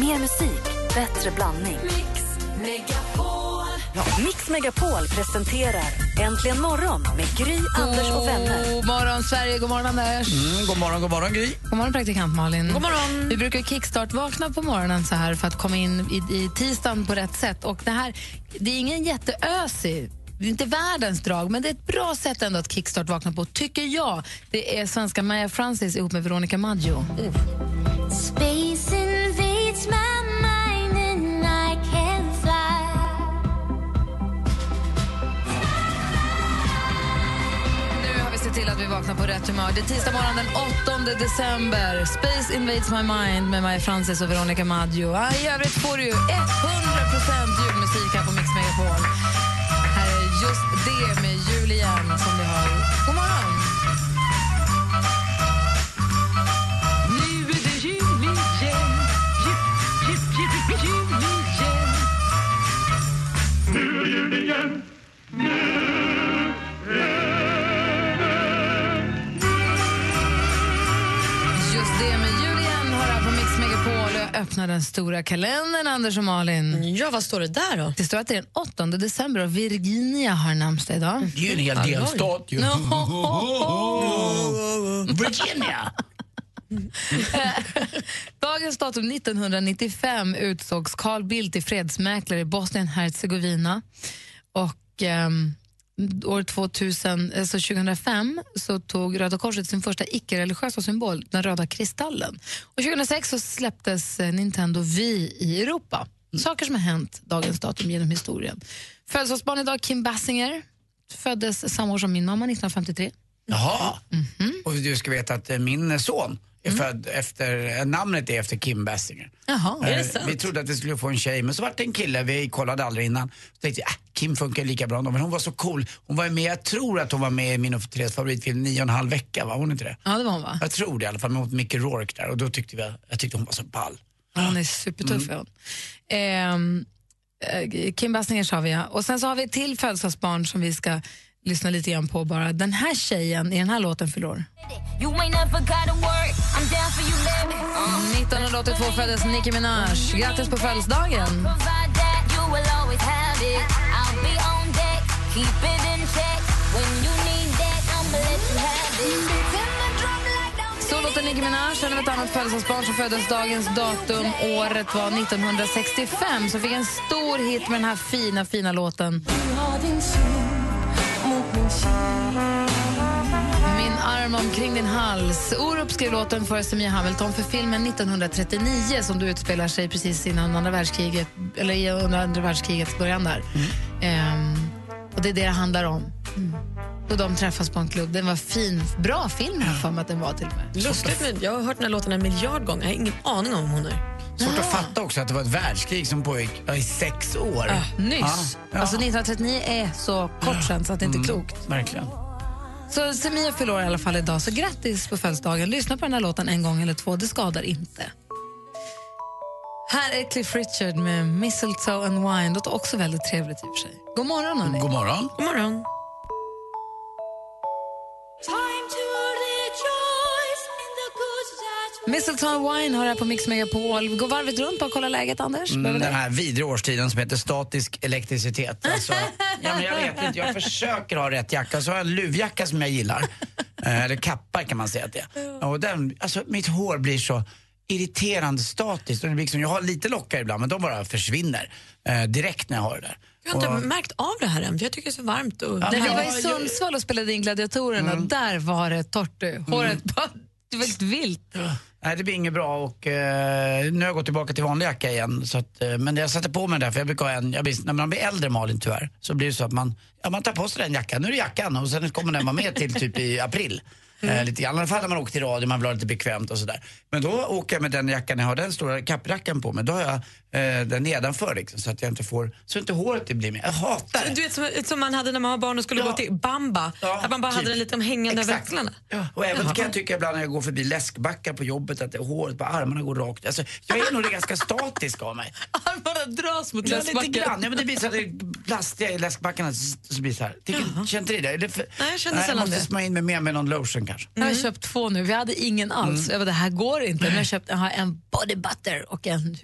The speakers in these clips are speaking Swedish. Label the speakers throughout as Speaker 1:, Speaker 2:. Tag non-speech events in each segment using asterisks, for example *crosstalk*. Speaker 1: Mer musik, bättre blandning.
Speaker 2: Mix Megapol.
Speaker 1: Mix Megapol presenterar Äntligen morgon med Gry, Anders och vänner.
Speaker 3: God morgon, Sverige. God morgon, Anders.
Speaker 4: Mm, god morgon, god morgon Gry.
Speaker 3: God morgon, praktikant Malin.
Speaker 5: God morgon.
Speaker 3: Vi brukar kickstart-vakna på morgonen så här för att komma in i, i tisdagen på rätt sätt. Och det, här, det är ingen jätteösig det är inte världens drag, men det är ett bra sätt ändå att kickstart vakna på, tycker jag. Det är svenska Maja Francis ihop med Veronica Maggio.
Speaker 6: Space invades my mind and I can fly.
Speaker 3: Nu har vi sett till att vi vaknar på rätt humör. Det är tisdag morgon den 8 december. Space invades my mind med Maja Francis och Veronica Maggio. Ah, I övrigt får du ju 100 julmusik här på Mix Megapol. Här är just det med jul igen som vi har. God morgon! Just det med jul igen hör här på Mix Megapol. Jag öppnar den stora kalendern, Anders och Malin.
Speaker 5: Ja, vad står det där då?
Speaker 3: Det står att det är den 8 december och Virginia har namnsdag idag.
Speaker 4: Det är ju en hel delstat ju. Virginia!
Speaker 3: *laughs* Dagens datum 1995 utsågs Carl Bildt till fredsmäklare i Bosnien-Hercegovina. Och ehm, år 2000, alltså 2005 så tog Röda Korset sin första icke-religiösa symbol, den röda kristallen. Och 2006 så släpptes eh, Nintendo Wii i Europa. Saker som har hänt dagens datum genom historien. Födelsedagsbarn idag, Kim Basinger. Föddes samma år som min mamma, 1953.
Speaker 4: Jaha. Och du ska veta att eh, min son är född efter, eh, namnet är efter Kim Basinger.
Speaker 3: Jaha.
Speaker 4: Eh, Vi trodde att vi skulle få en tjej, men så vart det en kille. Vi kollade aldrig innan. Så tänkte jag, äh, Kim funkar ju lika bra ändå. Men hon var så cool. Hon var ju med, jag tror att hon var med i min och Therese favoritfilm Nio och en halv vecka, var hon inte det?
Speaker 3: Ja, det var hon va?
Speaker 4: Jag tror det i alla fall, mot Mickey Rourke där. Och då tyckte vi, jag tyckte hon var så ball.
Speaker 3: Hon är supertuff. är Hon. Ehm, eh, Kim Basinger sa vi, ja. Och sen så har vi ett till födelsedagsbarn som vi ska lyssna lite grann på bara. Den här tjejen i den här låten fyller år.
Speaker 6: You ain't never gotta work. I'm down for you, baby. Uh,
Speaker 3: 1982 föddes Nicki Minaj. Grattis på födelsedagen!
Speaker 6: provide that you will always have it. I'll be on deck, keep it in check. When you need that, I'ma let you have it. Till my drum like don't
Speaker 3: Så låter Nicki Minaj. Sen har vi ett annat födelsedagsbarn som föddes dagens datum. Året var 1965, som fick en stor hit med den här fina, fina låten. Min arm omkring din hals. Orup skrev låten för Samia Hamilton för filmen 1939 som du utspelar sig precis innan andra världskriget, eller i- under andra världskrigets början där. Ehm, och det är det det handlar om. Och de träffas på en klubb. Den var fin, bra film här för mig att den var till och med.
Speaker 5: Lustigt, men jag har hört den här låten en miljard gånger. Jag har ingen aning om hon är.
Speaker 4: Svårt att fatta också att det var ett världskrig som pågick ja, i sex år.
Speaker 3: Ah, Nyss.
Speaker 4: Ja, ja.
Speaker 3: Alltså 1939 är så kort sedan så att det inte är klokt.
Speaker 4: Verkligen.
Speaker 3: Så Semia förlorar i alla fall idag, så grattis på födelsedagen. Lyssna på den här låten en gång eller två, det skadar inte. Här är Cliff Richard med Mistletoe and Wine. Låter också väldigt trevligt i och för sig. God morgon, hörni.
Speaker 4: God morgon.
Speaker 5: God morgon.
Speaker 3: Mistletoe and Wine har här på Mix Megapol. Gå varvet runt bara kolla läget, Anders.
Speaker 4: Mm,
Speaker 3: Behöver
Speaker 4: den
Speaker 3: det?
Speaker 4: här vidriga årstiden som heter statisk elektricitet. Alltså, ja, men jag vet inte, jag försöker ha rätt jacka. Så har jag en luvjacka som jag gillar. Eh, Eller kappa kan man säga att det är. Och den, alltså, mitt hår blir så irriterande statiskt. Och det blir liksom, jag har lite lockar ibland men de bara försvinner eh, direkt när jag har det där.
Speaker 5: Jag har inte
Speaker 4: Och-
Speaker 5: märkt av det här än. för Jag tycker det är så varmt. Och...
Speaker 4: Ja,
Speaker 3: När vi
Speaker 4: men-
Speaker 3: var i Sundsvall och spelade in Gladiatorerna, där var det torrt. du. Håret bara... Det var helt vilt.
Speaker 4: Nej, det blir inget bra och eh, nu har jag gått tillbaka till vanlig jacka igen. Så att, eh, men jag satte på mig den där, för jag brukar ha en, jag blir, när man blir äldre Malin tyvärr, så blir det så att man, ja, man tar på sig den jackan, nu är det jackan och sen kommer den vara med till typ i april. Eh, lite grann, i alla fall när man åker till radio, man vill ha lite bekvämt och sådär. Men då åker jag med den jackan, jag har den stora kapprackan på mig, då har jag eh, den nedanför liksom, så att jag inte får, så inte håret det blir med. Jag hatar det.
Speaker 5: Du vet som, som man hade när man var barn och skulle
Speaker 4: Ja.
Speaker 5: gå till Bamba.
Speaker 4: Ja,
Speaker 5: att man bara hade
Speaker 4: typ.
Speaker 5: den lite hängande över
Speaker 4: Exakt.
Speaker 5: axlarna.
Speaker 4: Ja. Och även kan jag tycka ibland när jag går förbi läskbackar på jobbet att det, håret på armarna går rakt. Alltså, jag är nog ganska statisk av mig.
Speaker 3: *laughs* Armarna dras mot
Speaker 4: Ja, lite grann. Ja, men det blir så att det är plastiga i läskbackarna. zzz, Så blir det så här. Tycker, känner inte ni det? Är det för,
Speaker 5: Nej, jag känner
Speaker 4: jag
Speaker 5: sällan
Speaker 4: måste
Speaker 5: det.
Speaker 4: smörja in mig mer med någon lotion kanske.
Speaker 3: Jag har köpt två nu. Vi hade ingen alls. Jag bara, det här går inte. Men jag har köpt jag har en body butter och en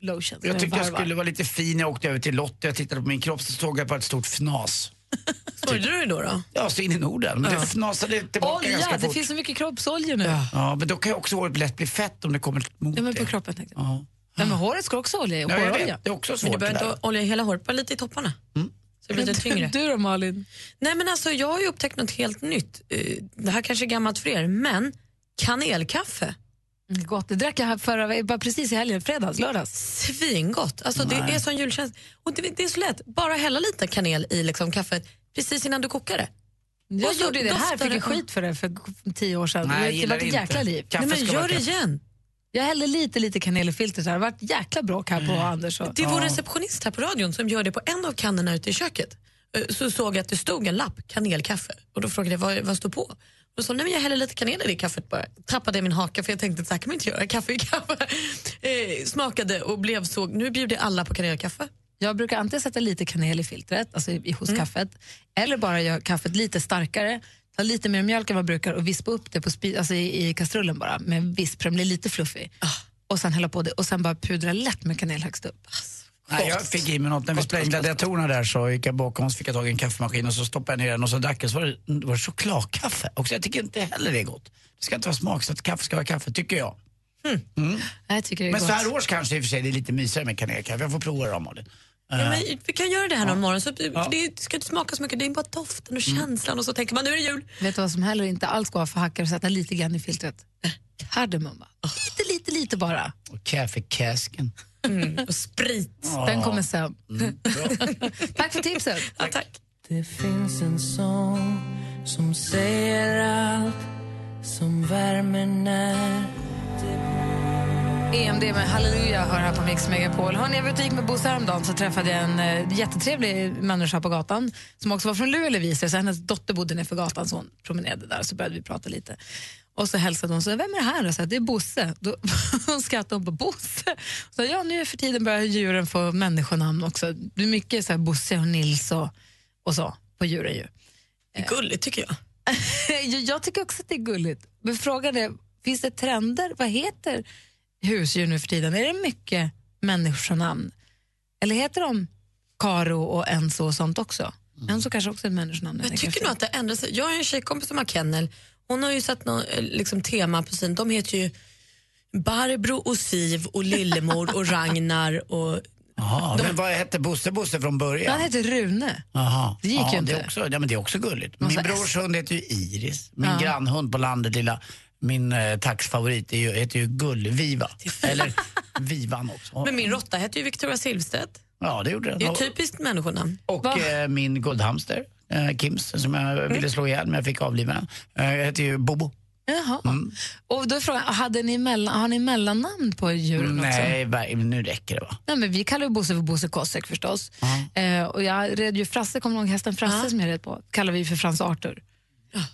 Speaker 3: lotion.
Speaker 4: Jag tyckte jag
Speaker 3: Varvar.
Speaker 4: skulle vara lite fin. Jag åkte över till Lottie, jag tittade på min kropp, så såg jag på ett stort fnas. typ.
Speaker 5: Sålde du det då? då?
Speaker 4: Ja, så in i Norden. Men det fnasade tillbaka
Speaker 3: Olja!
Speaker 4: ganska
Speaker 3: Det
Speaker 4: fort.
Speaker 3: finns så mycket kroppsolja nu. Ja.
Speaker 5: Ja.
Speaker 4: Ja, men då kan ju också håret lätt bli fett om det kommer mot
Speaker 3: Ja, men på
Speaker 4: det.
Speaker 3: kroppen tänkte jag.
Speaker 4: Ja.
Speaker 3: Ja, men håret ska också ha olja i. och
Speaker 4: Ja, jag
Speaker 3: Hårolja.
Speaker 4: vet. Det är också
Speaker 5: Men du
Speaker 4: svårt det
Speaker 5: behöver
Speaker 4: där. Mm.
Speaker 5: inte olja i hela håret, bara lite i topparna. Så det blir lite *laughs* tyngre.
Speaker 3: Du då Malin?
Speaker 5: Nej men alltså jag har ju upptäckt något helt nytt. Eh, Det här kanske är gammalt för er, men kanelkaffe.
Speaker 3: Mm, Gott, det drack jag här förra, bara precis i helgen, fredags, lördags.
Speaker 5: Svingott. Alltså det är sån julkänsla. Och det, det är så lätt, bara hälla lite kanel i liksom kaffet precis innan du kokar det.
Speaker 3: Jag
Speaker 5: Och så
Speaker 3: gjorde det här,
Speaker 5: doftar
Speaker 3: fick
Speaker 5: det-
Speaker 3: jag skit för det för tio år sedan.
Speaker 4: Nej, jag
Speaker 3: Nej, det
Speaker 4: gillar
Speaker 3: var ett
Speaker 4: inte.
Speaker 3: jäkla liv.
Speaker 4: Kaffe
Speaker 5: Nej, men
Speaker 4: ska
Speaker 5: gör
Speaker 4: vara
Speaker 5: det
Speaker 4: kaffe.
Speaker 5: igen.
Speaker 3: Jag hällde lite, lite kanel i filtret här. Det var ett jäkla bråk här på Anders. Och...
Speaker 5: Det är vår receptionist här på radion som gör det på en av kannorna ute i köket. Eh, Så såg jag att det stod en lapp, kanelkaffe. Och då frågade jag vad, vad står på? Och då sa hon, nej men jag häller lite kanel i det kaffet bara. Tappade jag min haka för jag tänkte att så här kan man inte göra, kaffe i kaffe. *laughs* Eh, smakade och blev så, nu bjuder alla på kanelkaffe.
Speaker 3: Jag brukar antingen sätta lite kanel i filtret, alltså i,
Speaker 4: Mm.
Speaker 3: hos kaffet, eller bara göra kaffet lite starkare, ta lite mer mjölk än vad jag brukar och vispa upp det på spi- alltså i, i kastrullen bara med en visp, den blir lite fluffig.
Speaker 4: Ah.
Speaker 3: Och sen hälla på det och sen bara pudra lätt med kanel högst upp.
Speaker 4: Nej, jag fick i mig något. När vi sprängde datorerna där så gick jag bakom och fick jag tag i en kaffemaskin och så stoppade jag ner den och så drack jag så var det, det var chokladkaffe. Och så jag tycker inte heller det är gott. Det ska inte vara smaksatt kaffe, ska vara kaffe tycker jag.
Speaker 3: Nej, Jag tycker det är
Speaker 4: Men så här
Speaker 3: gott.
Speaker 4: års kanske i och för sig det är lite mysigare med kanelkaffe. Jag får prova det då Malin. Äh.
Speaker 5: Ja, men vi kan göra det här någon morgon. Så det ska inte smaka så mycket, det är bara doften och
Speaker 4: Mm.
Speaker 5: känslan och så tänker man nu är det jul.
Speaker 3: Vet du vad som heller inte alls går för hackar och sätta lite grann i filtret?
Speaker 4: Äh.
Speaker 3: Kardemumma.
Speaker 4: Ah.
Speaker 3: Lite, lite, lite bara.
Speaker 4: Och kaffekäsken.
Speaker 5: Och sprit.
Speaker 3: Den
Speaker 4: Ah.
Speaker 3: kommer sen.
Speaker 4: Mm,
Speaker 3: *laughs* Tack för tipset.
Speaker 5: Ja, tack.
Speaker 2: Det finns en sång som säger allt som värmer när
Speaker 3: EMD E med Halleluja hör här på Mix Megapol. Hörrni, jag var ute och gick med Bosse häromdagen så träffade jag en eh, jättetrevlig människa på gatan som också var från Luleå visade sig. Hennes dotter bodde nerför gatan så hon promenerade där så började vi prata lite. Och så hälsade hon så vem är det här? Och så här, det är Bosse. Då, *laughs* hon skrattade hon på Bosse. Så ja, nu för tiden börjar djuren få människonamn också. Det är mycket så här, Bosse och Nils och, och så på djuren ju.
Speaker 5: Gulligt tycker jag.
Speaker 3: Jag- jag tycker också att det är gulligt. Men frågan är, finns det trender? Vad heter husdjur nu för tiden? Är det mycket människonamn? Eller heter de Karo och Enzo och sånt också? Enzo kanske också är ett människonamn.
Speaker 5: Mm. Jag
Speaker 3: tänker
Speaker 5: tycker
Speaker 3: efter.
Speaker 5: nog att det ändrar sig. Jag har en tjejkompis som har kennel. Hon har ju satt någon, eh, liksom, tema på sin. De heter ju Barbro och Siv och
Speaker 3: *laughs*
Speaker 5: Lillemor och Ragnar och
Speaker 4: Jaha, men vad hette Bosse Bosse från
Speaker 3: Han
Speaker 4: början?
Speaker 3: heter Rune.
Speaker 4: Jaha.
Speaker 3: Det gick
Speaker 4: ja,
Speaker 3: ju
Speaker 4: Det
Speaker 3: inte.
Speaker 4: är, också, ja, men det är också gulligt. Min
Speaker 3: Massa
Speaker 4: brors hund heter ju Iris. Min grannhund på landet, lilla, min eh, taxfavorit, är ju, heter ju
Speaker 3: *laughs*
Speaker 4: Gullviva. Eller Vivan också.
Speaker 5: Men min råtta heter ju Victoria Silvstedt.
Speaker 4: Ja, det gjorde den.
Speaker 5: Det är ju
Speaker 4: Och-
Speaker 5: typiskt människonamn.
Speaker 4: Och
Speaker 3: typ- Va? Mm.
Speaker 4: eh, min guldhamster, eh, Kims, som jag ville slå ihjäl men jag fick avliva den. Eh, jag heter ju Bobo.
Speaker 3: Jaha.
Speaker 5: Mm.
Speaker 3: Och då är frågan, hade ni mellan, har ni mellannamn på djuren också?
Speaker 4: Nej, ver- nu räcker det va?
Speaker 3: Nej, men vi kallar ju Bosse för Bosse Kosek förstås. Eh, och jag red ju Frasse, kommer du ihåg hästen Frasse som jag red på? Kallar vi för Frans Arthur.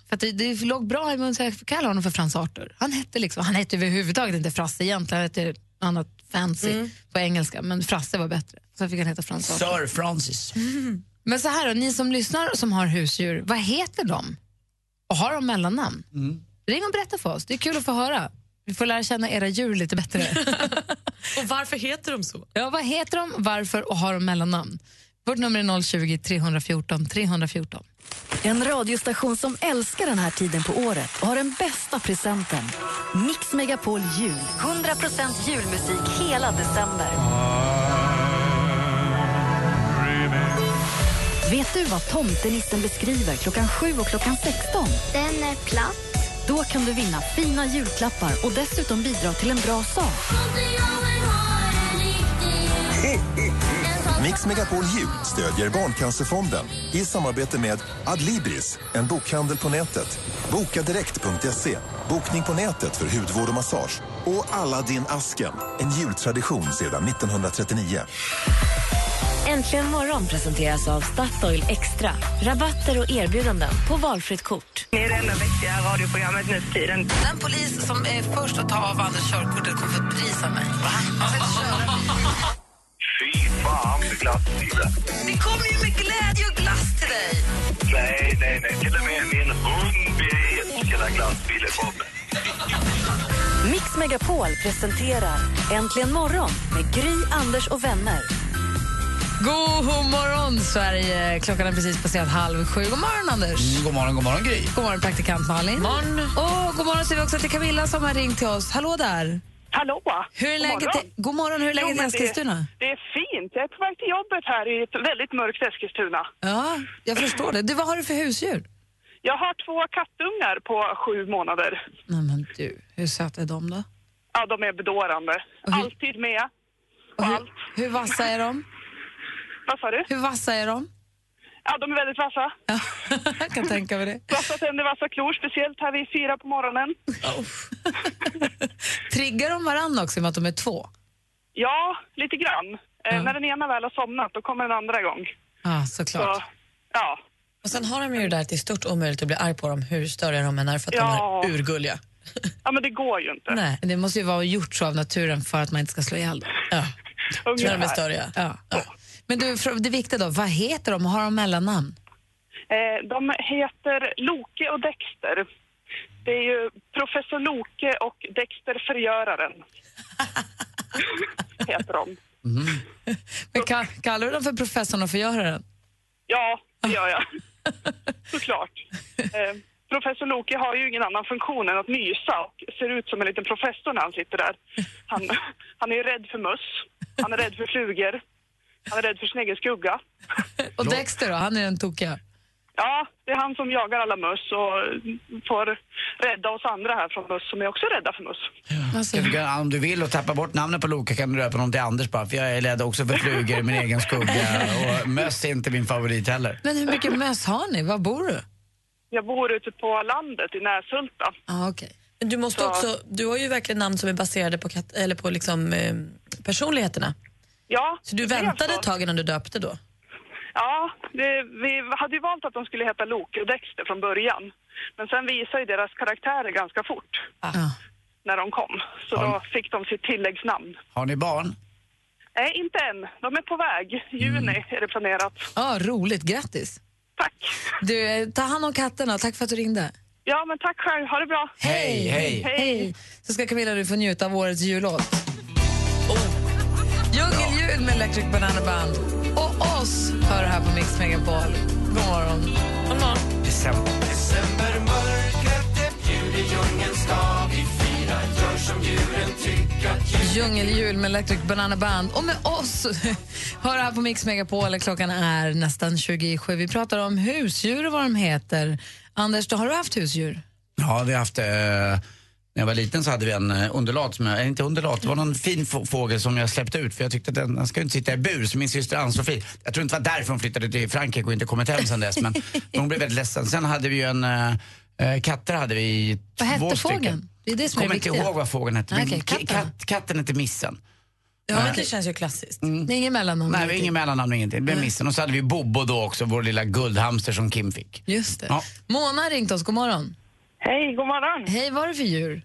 Speaker 3: För att det, det låg bra i mun så jag kallade honom för Frans Arthur. Han hette liksom, han hette överhuvudtaget inte Frasse egentligen, han hette annat fancy på engelska. Men Frasse var bättre. Så fick han heta Frans Arthur.
Speaker 4: Sir Francis.
Speaker 3: Men så här då, ni som lyssnar som har husdjur, vad heter de? Och har de mellannamn? Ring och berätta för oss, det är kul att få höra. Vi får lära känna era djur lite bättre.
Speaker 5: Och varför heter de så?
Speaker 3: Ja, vad heter de, varför och har de mellannamn? Vårt nummer är 020 314 314.
Speaker 1: En radiostation som älskar den här tiden på året och har den bästa presenten. Mix Megapol Jul. 100% julmusik hela december. Vet du vad tomtenissen beskriver klockan 7 och klockan 16?
Speaker 7: Den är platt.
Speaker 1: Då kan du vinna fina julklappar och dessutom bidra till en bra sak.
Speaker 8: *laughs* Mix Megapol Jul stödjer Barncancerfonden i samarbete med Adlibris, en bokhandel på nätet, bokadirekt.se, E. bokning på nätet för hudvård och massage och Aladdin asken en jultradition sedan 1939.
Speaker 1: Äntligen morgon presenteras av Statoil Extra. Rabatter och erbjudanden på valfritt kort.
Speaker 9: Ni är det enda vettiga radioprogrammet nu för tiden.
Speaker 3: Den polis som är först att ta av Anders körkortet kommer få ett pris av mig.
Speaker 10: Fy fan för glassbilar.
Speaker 3: Det kommer ju med glädje och glass till dig.
Speaker 10: Nej, nej, nej. Till och med min hund blir ilsken när glassbilen kommer.
Speaker 1: Mix Megapol presenterar Äntligen morgon med Gry, Anders och vänner.
Speaker 3: God morgon, Sverige! Klockan är precis passerat halv sju. God morgon, Anders!
Speaker 4: Mm, god morgon, god morgon Gry.
Speaker 3: God morgon, praktikant Malin.
Speaker 5: Morgon.
Speaker 3: Och god morgon säger vi också till Camilla som har ringt till oss. Hallå där!
Speaker 9: Hallå!
Speaker 3: Hur är
Speaker 9: God
Speaker 3: läget
Speaker 9: morgon.
Speaker 3: i- god morgon, hur är läget
Speaker 9: Jo,
Speaker 3: i
Speaker 9: men
Speaker 3: Eskilstuna?
Speaker 9: Det, det är fint. Jag är på väg till jobbet här i ett väldigt mörkt Eskilstuna.
Speaker 3: Ja, jag förstår det. Du, vad har du för husdjur?
Speaker 9: Jag har två kattungar på sju månader.
Speaker 3: Nej, men du, hur söta är de då?
Speaker 9: Ja, de är bedårande.
Speaker 3: Och hur-
Speaker 9: Alltid med.
Speaker 3: Och hur,
Speaker 9: Allt.
Speaker 3: hur vassa är de?
Speaker 9: Vad sa du?
Speaker 3: Hur vassa är de?
Speaker 9: Ja, de är väldigt vassa.
Speaker 3: Ja, *laughs* jag kan tänka mig det.
Speaker 9: Vassa tänder, vassa klor, speciellt här vid fyra på morgonen.
Speaker 3: Triggar de varandra också i och med att de är två?
Speaker 9: Ja, lite grann. Eh, När den ena väl har somnat, då kommer den andra igång.
Speaker 3: Ja,
Speaker 9: Så,
Speaker 3: såklart.
Speaker 9: ja.
Speaker 5: Och sen har de ju det där att det är stort omöjligt att bli arg på dem hur störiga de än är för att
Speaker 9: Ja.
Speaker 5: de är urgulliga.
Speaker 9: ja, men det går ju inte.
Speaker 5: Nej,
Speaker 3: Men det måste ju vara gjort så av naturen för att man inte ska slå ihjäl dem.
Speaker 5: ja. När de är
Speaker 9: Ungefär.
Speaker 5: störiga.
Speaker 3: Ja. Men du, för- det viktiga då, vad heter de och har de mellannamn?
Speaker 9: Eh, de heter Loke och Dexter. Det är ju professor Loke och Dexter Förgöraren. heter de.
Speaker 3: Men ka- kallar du dem för professorn och förgöraren?
Speaker 9: Ja, det gör jag. Såklart. Eh, professor Loke har ju ingen annan funktion än att mysa och ser ut som en liten professor när han sitter där. Han, han är ju rädd för möss, han är rädd för flugor, han är rädd för snegelskugga.
Speaker 3: Och Dexter då, han är den tokiga.
Speaker 9: Ja, det är han som jagar alla möss och får rädda oss andra här från möss som är också rädda för möss.
Speaker 3: Alltså,
Speaker 4: Kan du, göra- om du vill och tappa bort namnet på Loka kan du döpa honom till Anders bara, för jag är rädd också för flugor, min egen skugga och möss är inte min favorit heller.
Speaker 3: men hur mycket möss har ni? Var bor du?
Speaker 9: Jag bor ute på landet i Näshulta.
Speaker 3: Ah, okay.
Speaker 5: Men du, måste
Speaker 9: Så-
Speaker 5: också, du har ju verkligen namn som är baserade på, kat- eller på liksom, eh, personligheterna.
Speaker 9: Ja,
Speaker 5: Så du
Speaker 9: det blev
Speaker 5: väntade
Speaker 9: så.
Speaker 5: ett tag innan du döpte då?
Speaker 9: Ja, det, vi hade ju valt att de skulle heta Loke och Dexter från början. Men sen visade ju deras karaktärer ganska fort
Speaker 3: Ja.
Speaker 9: när de kom. Så
Speaker 4: Ja.
Speaker 9: då fick de sitt tilläggsnamn.
Speaker 4: Har ni barn?
Speaker 9: Nej, inte än. De är på väg. Juni
Speaker 5: Mm.
Speaker 9: är det planerat.
Speaker 3: Ah, roligt, grattis.
Speaker 9: Tack!
Speaker 3: Du, eh, ta hand om katterna. Tack för att du ringde.
Speaker 9: Ja, men tack själv. Ha det bra.
Speaker 4: Hej, hej!
Speaker 3: Hej! Så ska Camilla du få njuta av årets jullåt. Oh. Djungeljul med Electric Banana Band. Och oss hör du här på Mix Megapol. God morgon.
Speaker 4: December.
Speaker 3: Djungeljul med Electric Banana Band. Och med oss *laughs* hör här på Mix Megapol. Klockan är nästan 27. Vi pratar om husdjur och vad de heter. Anders, då har du haft husdjur?
Speaker 4: Ja, vi har haft... Eh, när jag var liten så hade vi en eh, underlat, som jag, eller inte underlat, det var någon fin få- fågel som jag släppte ut för jag tyckte att den, den ska ju inte sitta i bur. Så min syster Ann-Sofie, jag tror inte det var därför hon flyttade till Frankrike och inte kommit hem sedan dess,
Speaker 3: *laughs*
Speaker 4: men hon blev väldigt ledsen. Sen hade vi ju en... Eh, eh, katter hade vi
Speaker 3: Vad
Speaker 4: två
Speaker 3: hette
Speaker 4: stycken.
Speaker 3: fågeln? Det är det som är
Speaker 4: Kommer
Speaker 3: det
Speaker 4: inte
Speaker 3: viktiga.
Speaker 4: ihåg vad fågeln hette, men
Speaker 3: Okej,
Speaker 4: k-
Speaker 3: katterna.
Speaker 4: katt, katten hette missen.
Speaker 5: Ja, Mm. men det känns ju klassiskt.
Speaker 3: Det är ingen mellannamn.
Speaker 4: Nej, vi har
Speaker 3: riktigt.
Speaker 4: ingen mellannamn och ingenting. Det blev missen. Och så hade vi Bobo då också, vår lilla guldhamster som Kim fick.
Speaker 3: Just det.
Speaker 4: Ja.
Speaker 3: Mona har ringt oss. God morgon.
Speaker 9: Hej, god morgon.
Speaker 3: Hej, vad är det för djur?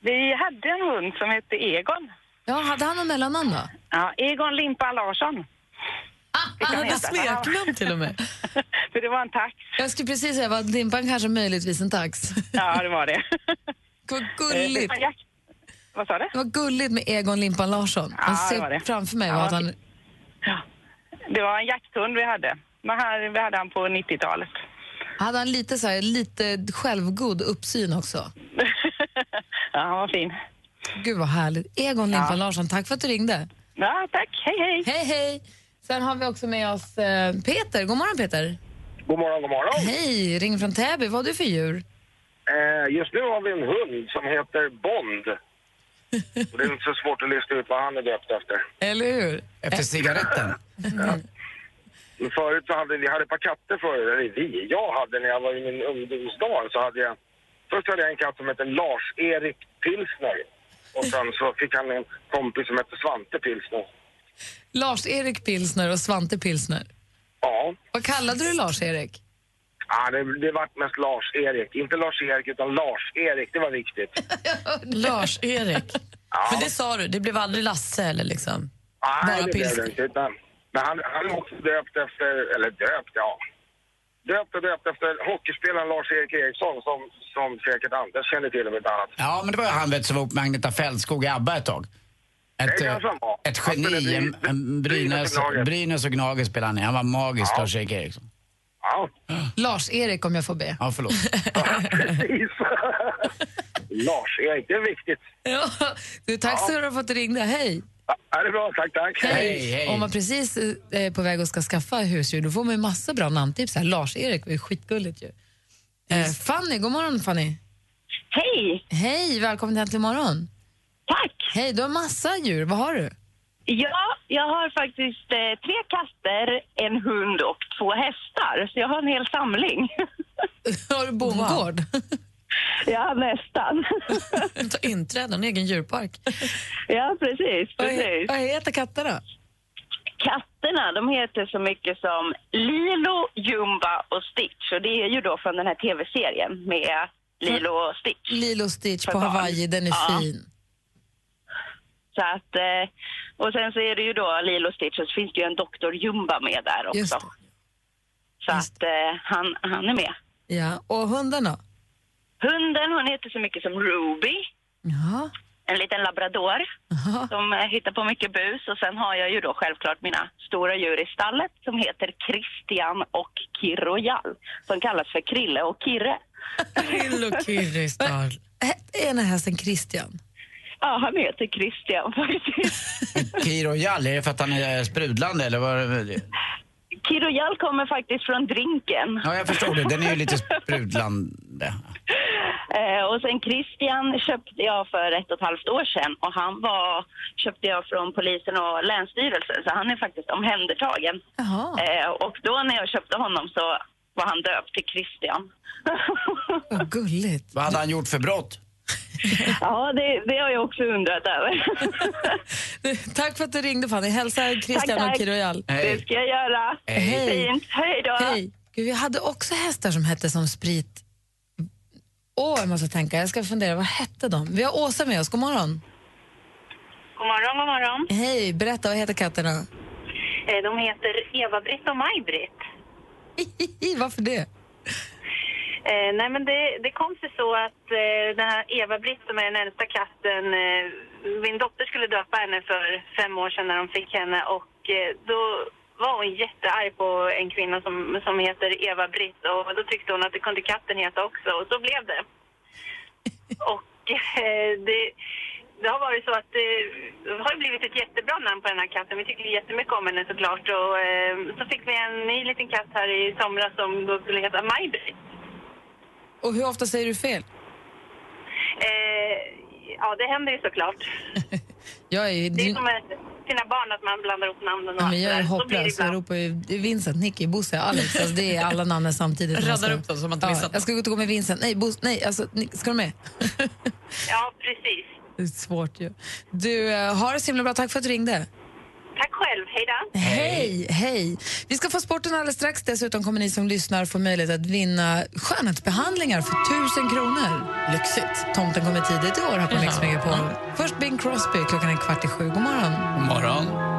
Speaker 9: Vi hade en hund som hette Egon.
Speaker 3: Ja, hade han något mellannamn då?
Speaker 9: Ja, Egon Limpan Larsson. *laughs*
Speaker 3: Ah,
Speaker 9: kan
Speaker 3: ah,
Speaker 9: heta.
Speaker 5: Smeknamn till och med.
Speaker 9: För det var en tax.
Speaker 3: jag skulle precis säga att Limpan kanske möjligtvis en tax.
Speaker 9: Ja, det var det.
Speaker 3: *laughs*
Speaker 9: *laughs*
Speaker 3: Vad
Speaker 9: Eh,
Speaker 3: gulligt.
Speaker 9: Vad sa du?
Speaker 3: Det var gulligt med Egon Limpan Larsson. Man
Speaker 9: Ja, det var
Speaker 3: ser
Speaker 9: det.
Speaker 3: framför mig vad
Speaker 9: Ja,
Speaker 3: han...
Speaker 9: Det var en jakthund vi hade. Men här, vi hade han på 90-talet.
Speaker 3: Hade han lite, så här, lite självgod uppsyn också?
Speaker 9: *laughs* ja, han var fin.
Speaker 3: Gud vad härligt. Egon Limpan Larsson, tack för att du ringde.
Speaker 9: Ja, tack. Hej, hej.
Speaker 3: Hej, hej! Sen har vi också med oss eh, Peter. God morgon Peter!
Speaker 10: God morgon, god morgon.
Speaker 3: Hej, ring från Täby. Vad har du för djur?
Speaker 10: Eh, just nu har vi en hund som heter Bond. Och det är inte så svårt att lista ut vad han är döpt efter.
Speaker 3: Eller hur?
Speaker 4: Efter cigaretten.
Speaker 10: Men förut så hade vi hade ett par katter förut, eller vi, jag hade när jag var i min ungdomsdag så hade jag, först hade jag en katt som hette Lars-Erik Pilsner. Och sen så fick han en kompis som hette Svante Pilsner.
Speaker 3: Lars-Erik Pilsner och Svante Pilsner.
Speaker 10: Ja,
Speaker 3: Vad kallade du Lars-Erik?
Speaker 10: ah, det, det vart mest Lars-Erik. Inte Lars-Erik utan Lars-Erik, det var viktigt.
Speaker 5: Lars-Erik. Men det sa du, det blev aldrig Lasse eller liksom?
Speaker 10: Nej,
Speaker 5: Bara
Speaker 10: det blev
Speaker 5: pilsner.
Speaker 10: det inte. Utan, men han, han är också döpt efter, eller döpt, ja. döpt och döpt efter hockeyspelaren Lars-Erik Eriksson som, som säkert Anders känner till om inte annat.
Speaker 4: Ja, men det var ju han vet, som var ihop med Agneta Fältskog i ABBA ett tag. Ett,
Speaker 10: Det
Speaker 4: eh,
Speaker 10: kanske han var.
Speaker 4: ett
Speaker 10: Han skulle
Speaker 4: geni.
Speaker 10: bli-
Speaker 4: En, en Brynäs,
Speaker 10: Brynäs och Gnaget.
Speaker 4: Brynäs och Gnaget spelade han i. Han var magisk, Lars-Erik Eriksson.
Speaker 10: Ja, *laughs*
Speaker 3: Lars-Erik om jag får be.
Speaker 4: Ja, förlåt.
Speaker 10: precis. Lars-Erik, det är viktigt.
Speaker 3: Ja. Du, tack så du har fått ringa. Hej!
Speaker 10: Ja, är det är bra, tack, tack.
Speaker 4: Hej, hej.
Speaker 3: Om man precis eh, är på väg och ska skaffa husdjur då får man ju massa bra namntips. här. Lars-Erik var ju skitgulligt ju. Eh, Fanny, god morgon Fanny.
Speaker 7: Hej!
Speaker 3: Hej, välkommen till Äntligen morgon.
Speaker 7: Tack!
Speaker 3: Hej, du har massa djur. Vad har du?
Speaker 7: Ja, jag har faktiskt eh, tre katter, en hund och två hästar. Så jag har en hel samling. *laughs*
Speaker 3: Har du bondgård?
Speaker 7: ja, nästan. *laughs*
Speaker 5: Ta inträde, en egen djurpark.
Speaker 7: ja, precis.
Speaker 3: Vad,
Speaker 7: precis.
Speaker 3: vad heter katterna?
Speaker 7: Katterna de heter så mycket som Lilo, Jumba och Stitch. Och det är ju då från den här tv-serien med Lilo och Stitch.
Speaker 3: Lilo Stitch
Speaker 7: För
Speaker 3: på
Speaker 7: barn.
Speaker 3: Hawaii, den är
Speaker 7: Ja.
Speaker 3: fin.
Speaker 7: Så att, eh, och sen så är det ju då Lilo och Stitch och så finns det ju en Dr. Jumba med där också.
Speaker 3: Just
Speaker 7: Så att eh, han, han är med.
Speaker 3: det. Ja. Och hundarna?
Speaker 7: Hunden hon heter så mycket som Ruby.
Speaker 3: Ja.
Speaker 7: en liten labrador som eh, hittar på mycket bus. Och sen har jag ju då självklart mina stora djur i stallet som heter Christian och Kirrojal som kallas för Krille och Kirre.
Speaker 5: Krill och
Speaker 3: *laughs*
Speaker 5: Kirrisdal.
Speaker 3: Hette ena hästen Christian?
Speaker 7: Ja, han heter Christian faktiskt.
Speaker 4: Kiro Jall, är det för att han är sprudlande eller vad? är det?
Speaker 7: Kirrojal kommer faktiskt från drinken.
Speaker 4: Ja, jag förstod det. Den är ju lite sprudlande.
Speaker 7: *laughs* Eh, och sen Christian köpte jag för ett och ett halvt år sedan och han var, köpte jag från polisen och länsstyrelsen så han är faktiskt omhändertagen.
Speaker 3: Jaha.
Speaker 7: Eh, och då när jag köpte honom så var han döpt till Christian. Eh.
Speaker 3: Vad gulligt. *laughs*
Speaker 4: Vad hade han gjort för brott?
Speaker 7: Ja, det, det har jag också undrat över.
Speaker 3: Du, Tack för att du ringde Fanny. Hälsa Christian
Speaker 7: Tack,
Speaker 3: och
Speaker 7: tack.
Speaker 3: Kirojal.
Speaker 7: Det ska jag göra.
Speaker 4: Hej.
Speaker 7: Fint. Hej då.
Speaker 3: Hej. Gud, jag hade också hästar som hette som sprit... Åh, jag måste tänka. Jag ska fundera. Vad hette de? Vi har Åsa med oss. God morgon.
Speaker 7: God morgon, god morgon.
Speaker 3: Hej, berätta. Vad heter katterna? *laughs*
Speaker 7: Eh, De heter Eva-Britt och Maj-Britt.
Speaker 3: Varför det?
Speaker 7: Eh, nej, men det, det kom sig så att eh, den här Eva-Britt som är den äldsta katten, eh, min dotter skulle döpa henne för fem år sedan när de fick henne och eh, då var hon jättearg på en kvinna som, som heter Eva-Britt och då tyckte hon att det kunde katten heta också och så blev det. Och eh, det, det har varit så att eh, det har ju blivit ett jättebra namn på den här katten. Vi tycker jättemycket om henne såklart och eh, så fick vi en ny liten katt här i somras som då skulle heta Maj-Britt.
Speaker 3: Och hur ofta säger du fel?
Speaker 7: Eh, ja, det händer ju såklart.
Speaker 3: Jag är ju...
Speaker 7: Det är som med sina barn att man blandar ihop namnen och
Speaker 3: Mm. Ja, men jag är
Speaker 7: allt det där. Så blir det
Speaker 3: hopplös. Jag
Speaker 7: ibland.
Speaker 3: ropar ju det är Vincent, Nicky, Bosse, Alex. Alltså, det är alla namnen samtidigt.
Speaker 5: *laughs* Raddar
Speaker 3: Jag ska-
Speaker 5: upp dem så man inte missar
Speaker 3: ja,
Speaker 5: någon.
Speaker 3: Jag ska gå och gå med Vincent. Nej, Bosse, nej, alltså, ni- ska du med? *laughs*
Speaker 7: Ja, precis.
Speaker 3: det är svårt ju. Du, eh, har det så himla bra. Tack för att du ringde.
Speaker 7: Tack själv. Hej då.
Speaker 3: Hej, hej. Vi ska få sporten alldeles strax. Dessutom kommer ni som lyssnar få möjlighet att vinna skönhetsbehandlingar för 1000 kronor. Lyxigt. Tomten kommer tidigt i år här på Mix Megapol. Först Bing Crosby, klockan är kvart i sju. God morgon.
Speaker 4: God morgon.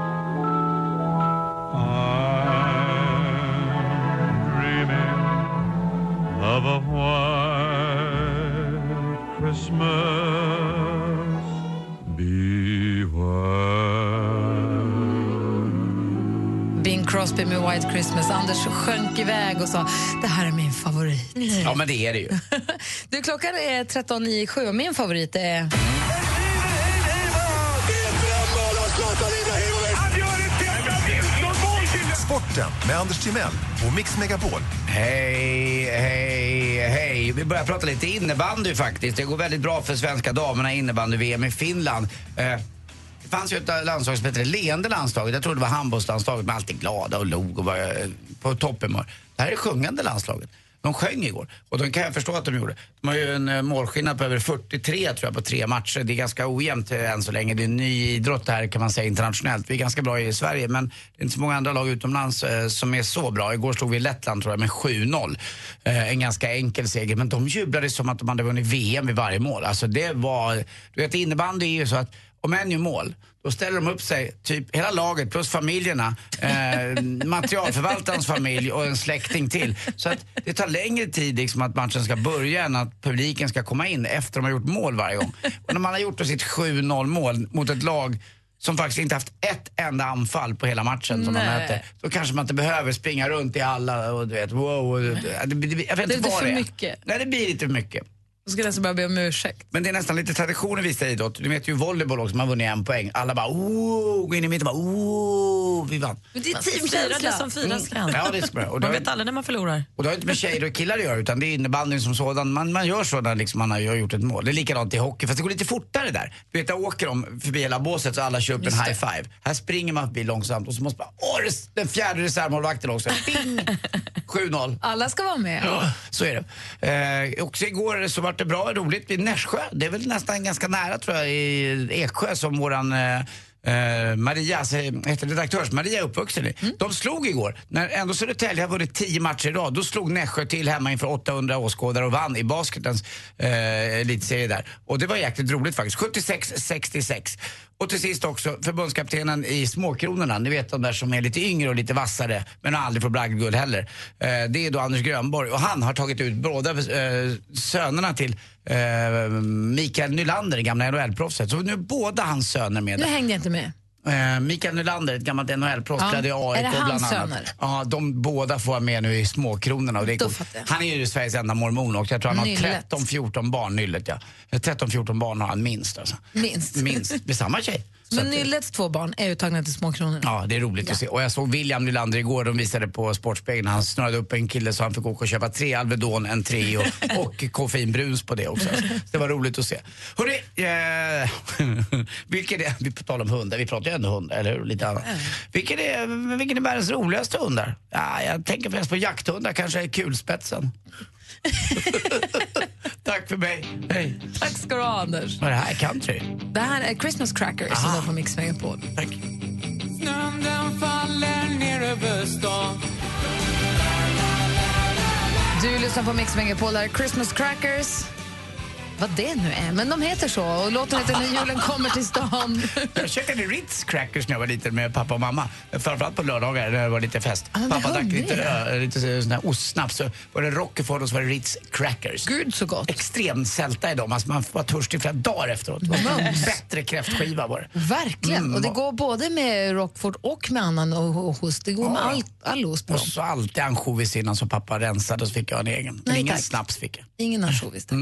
Speaker 3: Bing Crosby med White Christmas. Anders sjönk iväg och sa det här är min favorit.
Speaker 5: Mm.
Speaker 4: Ja, men det är det ju.
Speaker 3: Du, klockan är 13.07 och min favorit är...
Speaker 8: Sporten med Anders Timell och Mix Megapol.
Speaker 4: Hej, hej, hej. Vi börjar prata lite innebandy faktiskt. Det går väldigt bra för svenska damerna i innebandy-VM i Finland. Eh, det fanns ju ett landslag som hette Leende landslaget. Jag trodde det var handbollslandslaget, men alltid glada och log och var eh, på topphumör. Det här är sjungande landslaget. De sjöng igår och de kan jag förstå att de gjorde. De har ju en eh, målskillnad på över 43 tror jag på tre matcher. Det är ganska ojämnt eh, än så länge. Det är en ny idrott det här kan man säga internationellt. Vi är ganska bra i Sverige men det är inte så många andra lag utomlands eh, som är så bra. Igår slog vi Lettland tror jag med 7-0. Eh, en ganska enkel seger men de jublade som att de hade vunnit VM vid varje mål. Alltså det var, du vet innebandy är ju så att om en gör mål, då ställer de upp sig, typ hela laget plus familjerna, eh, materialförvaltarens familj och en släkting till. Så att det tar längre tid liksom att matchen ska börja än att publiken ska komma in efter de har gjort mål varje gång. Och när man har gjort då sitt 7-0 mål mot ett lag som faktiskt inte haft ett enda anfall på hela matchen som man
Speaker 3: Nej.
Speaker 4: möter. Då kanske man inte behöver springa runt i alla och du vet, wow. Och, det, det, det, jag vet
Speaker 3: Det
Speaker 4: inte
Speaker 3: är lite
Speaker 4: vad
Speaker 3: för
Speaker 4: det är.
Speaker 3: mycket.
Speaker 4: Nej, det blir lite för mycket.
Speaker 3: Då skulle jag alltså bara be om ursäkt.
Speaker 4: Men det är nästan lite tradition i vissa idrott. Du vet ju volleyboll också, man har vunnit en poäng. Alla bara oh, går in i mitten och bara oh, vi vann. Mm.
Speaker 5: Men det är teamkänsla. Det som firas kan.
Speaker 4: Ja, det är så bra. Och det,
Speaker 5: Man
Speaker 4: har,
Speaker 5: vet aldrig när man förlorar.
Speaker 4: och det har inte med tjejer och killar att göra utan det är innebandyn som sådan. Man, man gör så när liksom man har gjort ett mål. Det är likadant i hockey fast det går lite fortare där. Du vet, där åker de förbi hela båset så alla kör upp en high five. Här springer man förbi långsamt och så måste man, åh, det- den fjärde reservmålvakten också. Bing!
Speaker 5: *laughs*
Speaker 4: 7-0.
Speaker 3: Alla ska vara med.
Speaker 4: Ja, så är det. Eh, också igår så var det bra roligt vid Nässjö. Det är väl nästan ganska nära tror jag i Eksjö som våran eh, eh, Maria, alltså, heter redaktörs Maria är uppvuxen i. De slog igår. När ändå Södertälje har vunnit tio matcher i rad, då slog Nässjö till hemma inför 800 åskådare och vann i basketens eh, elitserie där. Och det var jäkligt roligt faktiskt. 76-66. Och till sist också förbundskaptenen i Småkronorna, ni vet de där som är lite yngre och lite vassare men har aldrig fått bragdguld heller. Eh, det är då Anders Grönborg och han har tagit ut båda eh, sönerna till eh, Mikael Nylander, det gamla NHL-proffset. Så nu är båda hans söner med
Speaker 3: Nu
Speaker 4: där.
Speaker 3: hängde jag inte med.
Speaker 4: Eh, Mikael Nylander, ett gammalt NHL-proffs,
Speaker 3: Ja.
Speaker 4: klädde i
Speaker 3: Är
Speaker 4: AIK
Speaker 3: det
Speaker 4: bland
Speaker 3: hans
Speaker 4: annat.
Speaker 3: söner?
Speaker 4: Ja, de båda får vara med nu i småkronorna. Och det är
Speaker 3: Då
Speaker 4: coolt.
Speaker 3: fattar jag.
Speaker 4: Han är ju Sveriges enda mormon också. Jag tror han har
Speaker 3: Nyllet.
Speaker 4: 13-14 barn, nyllet ja. 13-14 barn har han minst alltså.
Speaker 3: Minst.
Speaker 4: Minst, med samma tjej. Så
Speaker 3: Men
Speaker 4: att, eh,
Speaker 3: Nyllets två barn är uttagna till Småkronorna.
Speaker 4: Ja, det är roligt att se. Och jag såg William Nylander igår, de visade på Sportspegeln. Han snurrade upp en kille så han fick åka och köpa tre Alvedon, en Treo och koffeinbrus på det också. Så det var roligt att se. Hörrni, eh, *laughs* vilken är, vi talar om hundar, vi pratar ju ändå hundar, eller hur? Lite annat. Vilken är, vilken är världens roligaste hundar? Ja, jag tänker främst på jakthundar, kanske är kulspetsen. *laughs* Tack för mig. Hej.
Speaker 3: Tack ska du ha, Anders.
Speaker 4: Vad är det här? Country?
Speaker 3: Det här är Christmas Crackers som
Speaker 4: Aha.
Speaker 3: var på Mix Megapol.
Speaker 4: Tack.
Speaker 3: Du lyssnar på Mix Megapol, det här är Christmas Crackers. Vad det nu är, men de heter så. Och låten heter När julen kommer till stan.
Speaker 4: *laughs* Jag käkade Ritz crackers när jag var liten med pappa och mamma. Framförallt på lördagar när det var lite fest.
Speaker 3: Ah, men vad
Speaker 4: pappa drack
Speaker 3: hungrig
Speaker 4: lite, ö- lite sån här ostsnaps. Så var det Rockeford och så var det Ritz crackers.
Speaker 3: Gud så gott.
Speaker 4: Extrem sälta i dem. Alltså man var törstig flera dagar efteråt. Det var en Bättre kräftskiva var det.
Speaker 3: Verkligen.
Speaker 4: Mm,
Speaker 3: och det
Speaker 4: vad-
Speaker 3: går både med Rockford och med annan och och ost. Det går med all, all ost på
Speaker 4: Och
Speaker 3: dem.
Speaker 4: så alltid ansjovis innan som pappa rensade och så fick jag en egen. Men
Speaker 3: Nej,
Speaker 4: ingen
Speaker 3: tack.
Speaker 4: snaps fick jag.
Speaker 3: Ingen ansjovis, tack.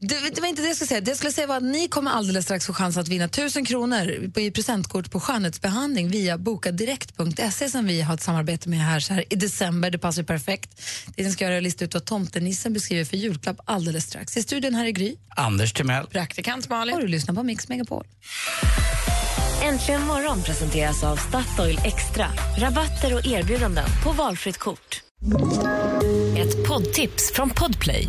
Speaker 3: Det, det var inte det jag skulle säga. Det jag skulle säga var att ni kommer alldeles strax få chans att vinna 1000 kronor på- i presentkort på skönhetsbehandling via bokadirekt.se som vi har ett samarbete med här, så här i december. Det passar ju perfekt. Det ni ska göra är att lista ut vad tomtenissen beskriver för julklapp alldeles strax. I studion här är Gry
Speaker 4: Anders Timell.
Speaker 5: Praktikant Malin.
Speaker 3: och du lyssnar på Mix Megapol.
Speaker 1: Äntligen morgon presenteras av Statoil Extra. Rabatter och erbjudanden på valfritt kort. Ett poddtips från Podplay.